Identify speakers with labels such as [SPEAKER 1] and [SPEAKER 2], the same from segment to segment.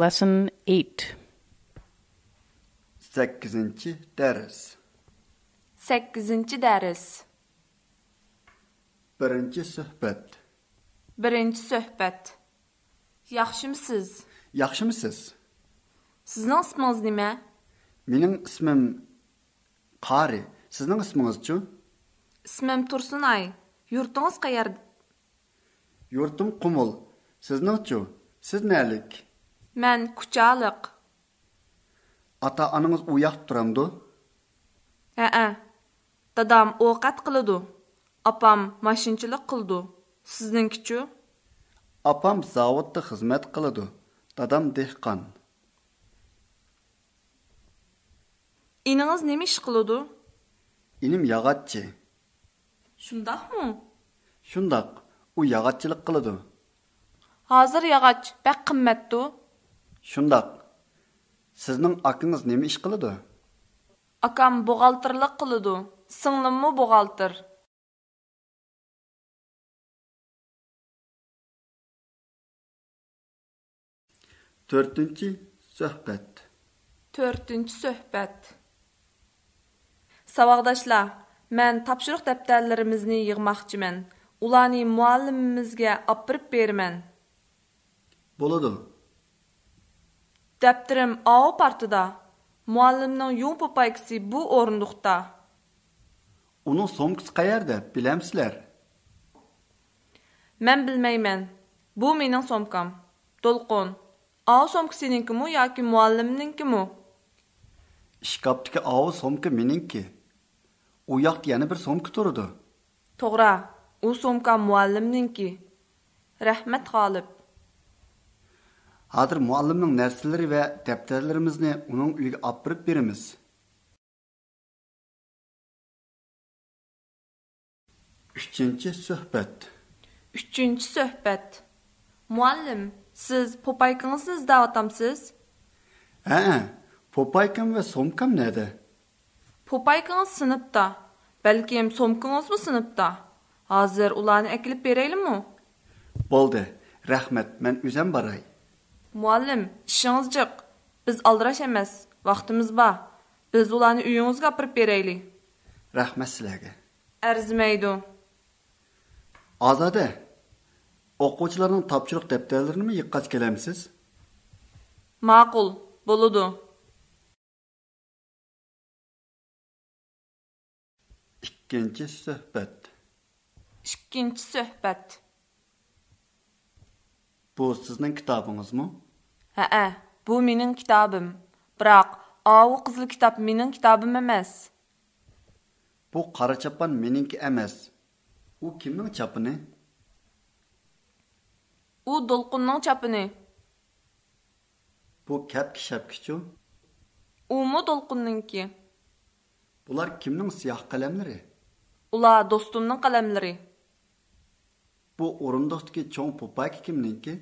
[SPEAKER 1] Lesson 8
[SPEAKER 2] 8. dərs
[SPEAKER 3] 8-ci dərs.
[SPEAKER 2] 1. söhbət
[SPEAKER 3] 1-ci söhbət. Yaxşımısınız?
[SPEAKER 2] Yaxşımısınız?
[SPEAKER 3] Sizin isminiz nə?
[SPEAKER 2] Mənim ismim Qari. Sizin isminizçi?
[SPEAKER 3] İsmim Tursunay. Yurtunuz qayerdə?
[SPEAKER 2] Yurtum Qumul. Sizningçi? Siz nəlik?
[SPEAKER 3] Mən Kucalıq.
[SPEAKER 2] Ata-ananız u yoqda turamdı?
[SPEAKER 3] Hə-ə. Dadam ovqat qılıdı. Apam maşınçılıq qıldı. Sizinkiçü?
[SPEAKER 2] Apam zavodda xizmət qıldı. Dadam dehqan.
[SPEAKER 3] İniniz nə iş qılıdı?
[SPEAKER 2] İnim yağatçı.
[SPEAKER 3] Şundaqmı?
[SPEAKER 2] Şundaq, u yağatçılıq qıldı.
[SPEAKER 3] Hazır yağac bək qimmatdı.
[SPEAKER 2] Şundaq. Sizning akınız nima iş qıldı?
[SPEAKER 3] Akam buğaltırlıq qılıdı. Singlimmi buğaltır.
[SPEAKER 2] Төртінші сөhbət.
[SPEAKER 3] 4-cü söhbət. Savaqdaşlar, mən tapşırıq dəftərlərimizni yığmaqçımən. Ulanı müəllimimizə apırıb bermən.
[SPEAKER 2] Болады.
[SPEAKER 3] Dəftərim A partıda. Müəllimin yum papaykisi bu orunduqda.
[SPEAKER 2] Onun somkası qayerdə? Biləmsizlər?
[SPEAKER 3] Mən bilməyəm. Bu mənim somkam. Dolqun. A somkasınınkimu yoki müəllimininkimi?
[SPEAKER 2] Şkapdagi avu somka meningki. U yoqda yana bir somka turdi.
[SPEAKER 3] Toğra. O somka müəllimninki. Rəhmət Xalib.
[SPEAKER 2] Hozir muallimning narsalari va daftarlarimizni uning uyiga olib borib beramiz. Üçüncü söhbət.
[SPEAKER 3] 3-cü söhbət. Müəllim, siz popaykınızı izləyətamsınız?
[SPEAKER 2] Hə, popaykam va somkam nədir?
[SPEAKER 3] Popaykınız sinifdə. Bəlkəm somkunuzmu sinifdə? Hazır ulanı əkilib verəyimmi?
[SPEAKER 2] Bo'ldi. Rahmat, men o'zim boray.
[SPEAKER 3] Müəllim, işiniz cıq. Biz aldıraş emas, vaxtımız var. Biz ulanı uyunuzğa apırıb verəylik.
[SPEAKER 2] Rahmat sizlarga.
[SPEAKER 3] Ərzməydi.
[SPEAKER 2] Ozoda. O'quvchilarning topshiriq daftarlarini yiqqach kelamsiz?
[SPEAKER 3] Maqul, buludu.
[SPEAKER 2] Ikkinchi suhbat.
[SPEAKER 3] 2-ci söhbət.
[SPEAKER 2] Bu sizning kitobingizmi?
[SPEAKER 3] Hə-ə, Hə, bu mənim kitabım. Biroq, avu qızıl kitab mənim kitabım emas.
[SPEAKER 2] Bu qora chapon meningki emas. U kimning chapini?
[SPEAKER 3] U dolqunun çapını.
[SPEAKER 2] Bu kapki shapkichu.
[SPEAKER 3] U mu dolqununki?
[SPEAKER 2] Bular kimning siyoh qalamlari?
[SPEAKER 3] Ula dostumnun qalamları.
[SPEAKER 2] Bu o'rindiqdagi cho'ng popak kimninki?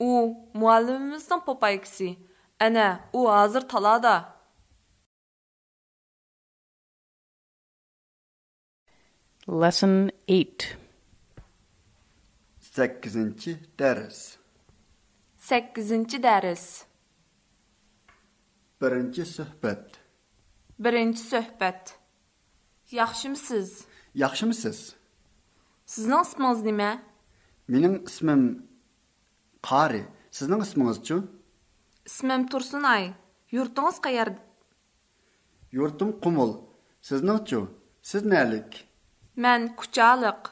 [SPEAKER 3] U muallimimizin popaykisi. Ana, u hazır talada.
[SPEAKER 1] Lesson 8
[SPEAKER 2] 8. dars.
[SPEAKER 3] 8-ci dərs.
[SPEAKER 2] 1. suhbat.
[SPEAKER 3] 1-ci söhbət. Yaxşımısınız?
[SPEAKER 2] Yaxshimisiz?
[SPEAKER 3] Sizin isminiz nə?
[SPEAKER 2] Mening ismim Qari. Sizning ismingizchi?
[SPEAKER 3] İsmim Tursunay. Yurtunuz qayerdə?
[SPEAKER 2] Yurtim Qumul. Sizningchi? Siz nalik?
[SPEAKER 3] Mən Kucalıq.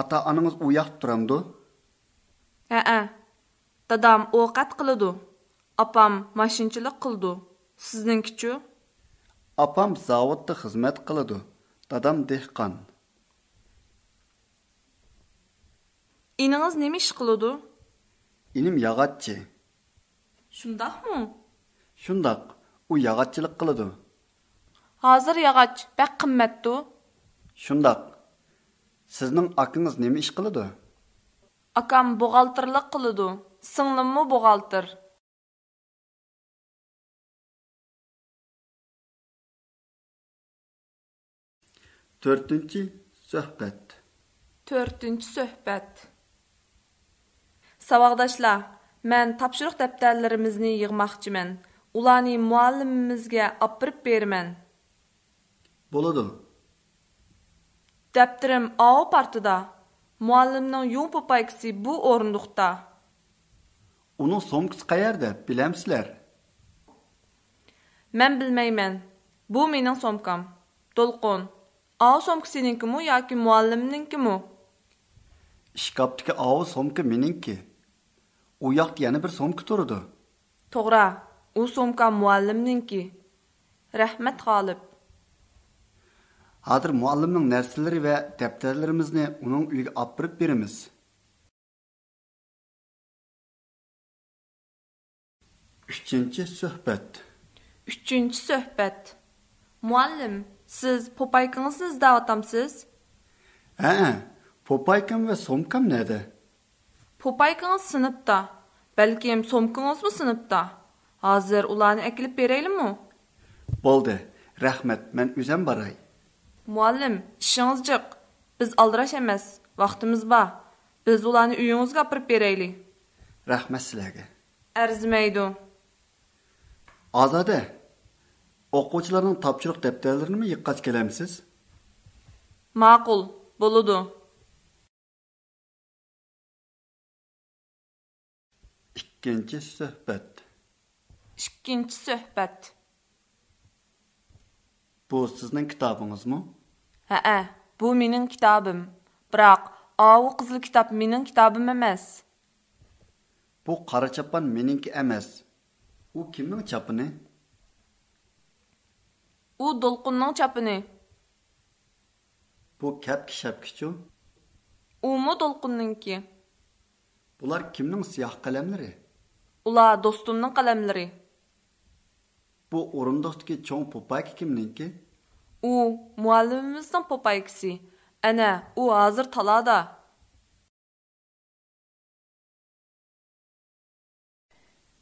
[SPEAKER 2] Ata-anangiz u yoqda turamdi?
[SPEAKER 3] Hə-ə. Dadam ovqat qılıdı. Apam maşınçılıq qıldı. Sizinkiçü?
[SPEAKER 2] Апам заводда хизмәт кылды. Дадам дехкан.
[SPEAKER 3] İniniz nə iş qılıdı?
[SPEAKER 2] Инем ягатчы.
[SPEAKER 3] Şundaqmı?
[SPEAKER 2] Шундак, у ягатчылык кылды.
[SPEAKER 3] Hazır yağac bək qimmatdı.
[SPEAKER 2] Шундак. Сезнең акыңыз неме эш кылды?
[SPEAKER 3] Akam buğaltırlıq qılıdı. Singlimmi buğaltır.
[SPEAKER 2] 4-нче söhbət.
[SPEAKER 3] 4-cü söhbət. Savaqdaşlar, Mən tapşırıq dəftərlərimizni yığmaqçımən. Ulanı müəllimimizə apırıb bermən.
[SPEAKER 2] Bo'ladi.
[SPEAKER 3] Dəftərim A partida. Müəllimin yum papaykisi bu orunduqda.
[SPEAKER 2] Uning sumkasi qayerda, bilamsizlar?
[SPEAKER 3] Mən bilməyəm. Bu mənim somkam. Dolqun. A somkasininkimi yoki müəllimininkimi?
[SPEAKER 2] Shkapdagi ovi sumka meningki. U yoqda yana bir sumka turadi.
[SPEAKER 3] To'g'ri. U somka muallimninki. Rahmat G'olib.
[SPEAKER 2] Hozir muallimning narsalari va daftarlarimizni uning uyiga olib borib beramiz. Uchinchi suhbat.
[SPEAKER 3] 3-cü söhbət. Müəllim, siz popaykınızı izləyatamsınız?
[SPEAKER 2] Ha, popaykam va sumkam nada?
[SPEAKER 3] Popaykınız sinifdə. Bəlkəm somkunuz mu sinifdə? Hazır ulanı əkilib verəyimmi?
[SPEAKER 2] Bo'ldi. Rahmat, men o'zim boray.
[SPEAKER 3] Müəllim, işiniz cıq. Biz aldıraş emas, vaxtımız var. Biz ulanı uyunuzğa apırıb verəylik.
[SPEAKER 2] Rahmat sizlarga.
[SPEAKER 3] Ərzməydi.
[SPEAKER 2] Ozoda, o'quvchilarning topshiriq daftarlarini yiqqach kelamsiz?
[SPEAKER 3] Maqul, buludu.
[SPEAKER 2] Ikkinchi suhbat.
[SPEAKER 3] 2-ci söhbət.
[SPEAKER 2] Bu sizning kitobingizmi?
[SPEAKER 3] Hə, bu mənim kitabım. Biroq, avu qızıl kitab mənim kitabım emas.
[SPEAKER 2] Bu qora chapan meningki emas. U kimning chapini?
[SPEAKER 3] U dolqunning çapını.
[SPEAKER 2] Bu kapki shapkichu.
[SPEAKER 3] Umu dolqunninki.
[SPEAKER 2] Bular kimning siyoh qalamlari?
[SPEAKER 3] Ula dostumning qalamlari.
[SPEAKER 2] Bu o'rindiqdagi cho'ng popak kimninki?
[SPEAKER 3] U muallimimizning popaykisi. Ana, u hozir talada.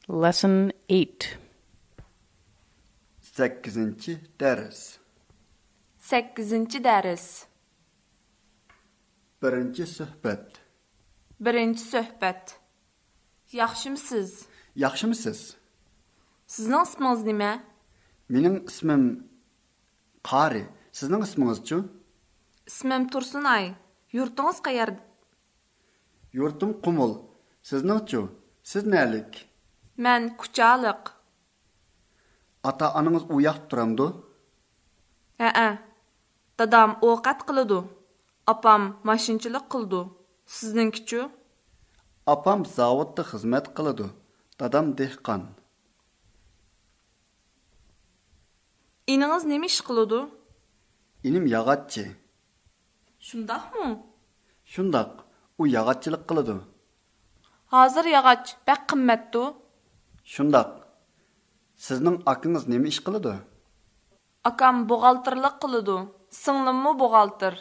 [SPEAKER 1] Lesson 8.
[SPEAKER 2] 8. dars.
[SPEAKER 3] 8-ci dərs.
[SPEAKER 2] 1. suhbat.
[SPEAKER 3] 1-ci söhbət. Yaxşımısınız?
[SPEAKER 2] Yaxshimisiz?
[SPEAKER 3] Sizin isminiz nə?
[SPEAKER 2] Mening ismim Qari. Sizning ismingizchi?
[SPEAKER 3] İsmim Tursunay. Yurtunuz qayerdə?
[SPEAKER 2] Yurtim Qumul. Sizningchi? Siz nalik?
[SPEAKER 3] Mən Kucalıq.
[SPEAKER 2] Ata-oningiz u yoqda turamdi?
[SPEAKER 3] Hə-ə. Dadam ovqat qılıdı. Apam maşınçılıq qıldı. Sizinkiçü?
[SPEAKER 2] Apam zavodda xizmat qiladi. Dadam dehqon.
[SPEAKER 3] İniniz nə iş qılıdı?
[SPEAKER 2] Inim yog'ochchi.
[SPEAKER 3] Şundaqmı?
[SPEAKER 2] Shundoq, u yog'ochchilik qiladi.
[SPEAKER 3] Hazır yağaç bək qimmətdi.
[SPEAKER 2] Shundoq. Sizning akingiz nima ish qiladi?
[SPEAKER 3] Akam buğaltırlıq qılıdı. Singlimmi buğaltır.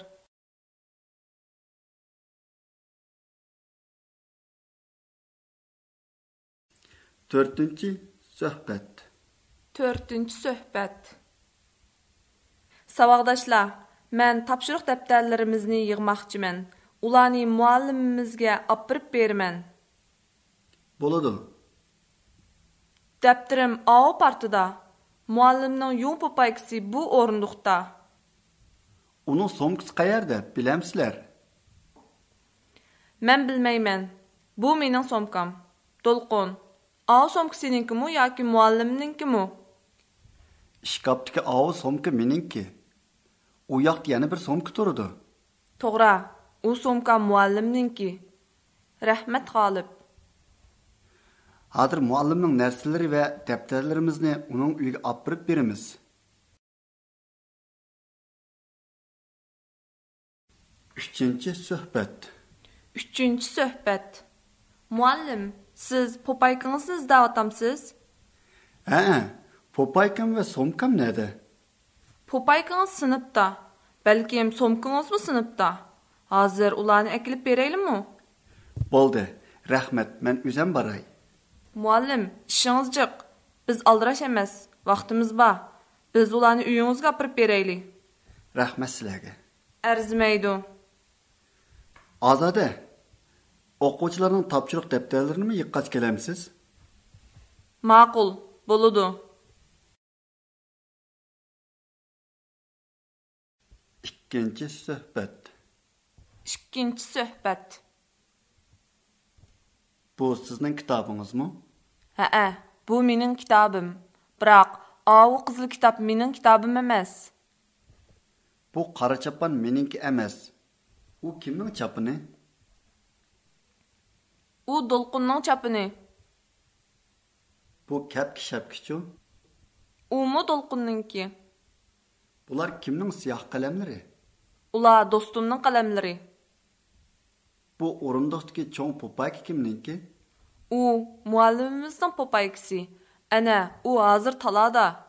[SPEAKER 2] To'rtinchi suhbat.
[SPEAKER 3] 4-cü söhbət. Savaqdaşlar, mən tapşırıq dəftərlərimizni yığmaqçımən. Ulanı müəllimimizə apırıb bermən.
[SPEAKER 2] Bo'ladi.
[SPEAKER 3] Dəftərim A partida. Müəllimin yum papaykisi bu orunduqda.
[SPEAKER 2] Uning sumkasi qayerda, bilamsizlar?
[SPEAKER 3] Mən bilməyəm. Bu mənim somkam. Dolqun. A somkasininkimi yoki müəllimininkimi?
[SPEAKER 2] Shkapdagi ovi sumka meningki. U yoqda yana bir sumka turadi.
[SPEAKER 3] To'g'ri, u somka muallimninki. Rahmat G'olib.
[SPEAKER 2] Hozir muallimning narsalari va daftarlarimizni uning uyiga olib borib beramiz. Uchinchi suhbat.
[SPEAKER 3] 3-cü söhbət. Müəllim, siz popaykınızı izləyatamsınız?
[SPEAKER 2] Ha, popaykam va sumkam nada?
[SPEAKER 3] Popaykınız sinifdə. Bəlkəm somkunuzmu sinifdə? Hazır ulanı əkilib verəyimmi?
[SPEAKER 2] Bo'ldi. Rahmat, men o'zim boray.
[SPEAKER 3] Müəllim, işiniz cıq. Biz aldıraş emas, vaxtımız var. Biz ulanı uyunuzğa apırıb verəylik.
[SPEAKER 2] Rahmat sizlarga.
[SPEAKER 3] Ərzməydi.
[SPEAKER 2] Ozoda, o'quvchilarning topshiriq daftarlarini yiqqach kelamsiz
[SPEAKER 3] Ma'qul, bo'ladi.
[SPEAKER 2] ikkinchi suhbat
[SPEAKER 3] Ikkinchi suhbat.
[SPEAKER 2] bu sizning kitobingizmi
[SPEAKER 3] Ha, Hə, bu mening kitobim. Biroq ovi qizil kitob mening kitobim emas.
[SPEAKER 2] bu qora chapon meningki emas u kimning chapini
[SPEAKER 3] U Dolqunning chapini.
[SPEAKER 2] bu kapki shapkichu
[SPEAKER 3] U mu Dolqunninki?
[SPEAKER 2] bular kimning siyoh qalamlari
[SPEAKER 3] Ular do'stimning qalamlari.
[SPEAKER 2] bu o'rindiqdagi cho'ng po'pak kimniki
[SPEAKER 3] U muallimimizning popaykisi. Ana, u hozir talada.